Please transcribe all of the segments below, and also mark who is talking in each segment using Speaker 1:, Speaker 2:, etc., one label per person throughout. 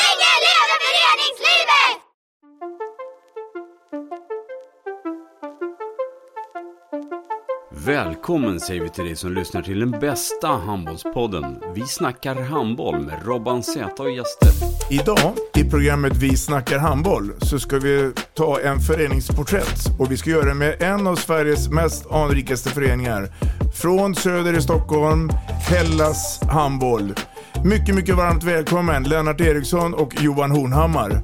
Speaker 1: Länge leve föreningslivet!
Speaker 2: Välkommen säger vi till dig som lyssnar till den bästa handbollspodden. Vi snackar handboll med Robban Z och gäster.
Speaker 3: Idag i programmet Vi snackar handboll så ska vi ta en föreningsporträtt och vi ska göra det med en av Sveriges mest anrikaste föreningar. Från Söder i Stockholm, Hellas Handboll. Mycket, mycket varmt välkommen Lennart Eriksson och Johan Hornhammar.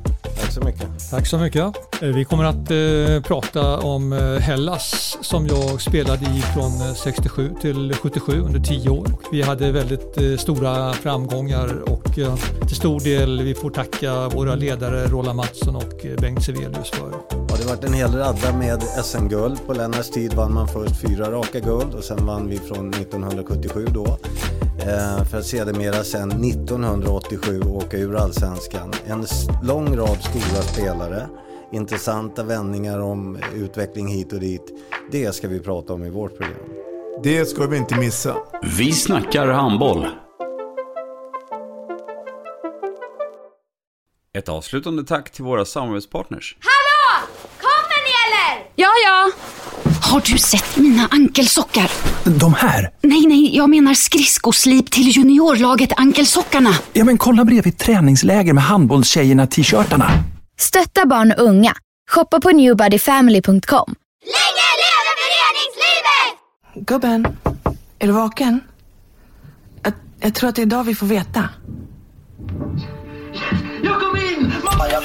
Speaker 4: Tack så mycket. Eh, Vi kommer att eh, prata om eh, Hellas som jag spelade i från eh, 67 till 77 under 10 år. Vi hade väldigt eh, stora framgångar och eh, till stor del vi får tacka våra ledare Roland Mattsson och eh, Bengt Sevelius för.
Speaker 5: Ja, det varit en hel radda med SM-guld. På Lennarts tid vann man först fyra raka guld och sen vann vi från 1977 då. Eh, för att sedermera sen 1987 åka ur allsvenskan. En s- lång rad stora spelare. Intressanta vändningar om utveckling hit och dit. Det ska vi prata om i vårt program.
Speaker 3: Det ska vi inte missa.
Speaker 2: Vi snackar handboll. Ett avslutande tack till våra samarbetspartners.
Speaker 1: Hallå! Kommer ni eller?
Speaker 6: Ja, ja. Har du sett mina ankelsockar?
Speaker 7: De här?
Speaker 6: Nej, nej, jag menar skridskoslip till juniorlaget Ankelsockarna.
Speaker 7: Ja, men kolla bredvid träningsläger med handbollstjejerna-t-shirtarna.
Speaker 8: Stötta barn och unga. Shoppa på newbodyfamily.com.
Speaker 1: Länge leve föreningslivet!
Speaker 9: Gubben, är du vaken? Jag, jag tror att det är idag vi får veta.
Speaker 10: Jag kom in! Mamma, jag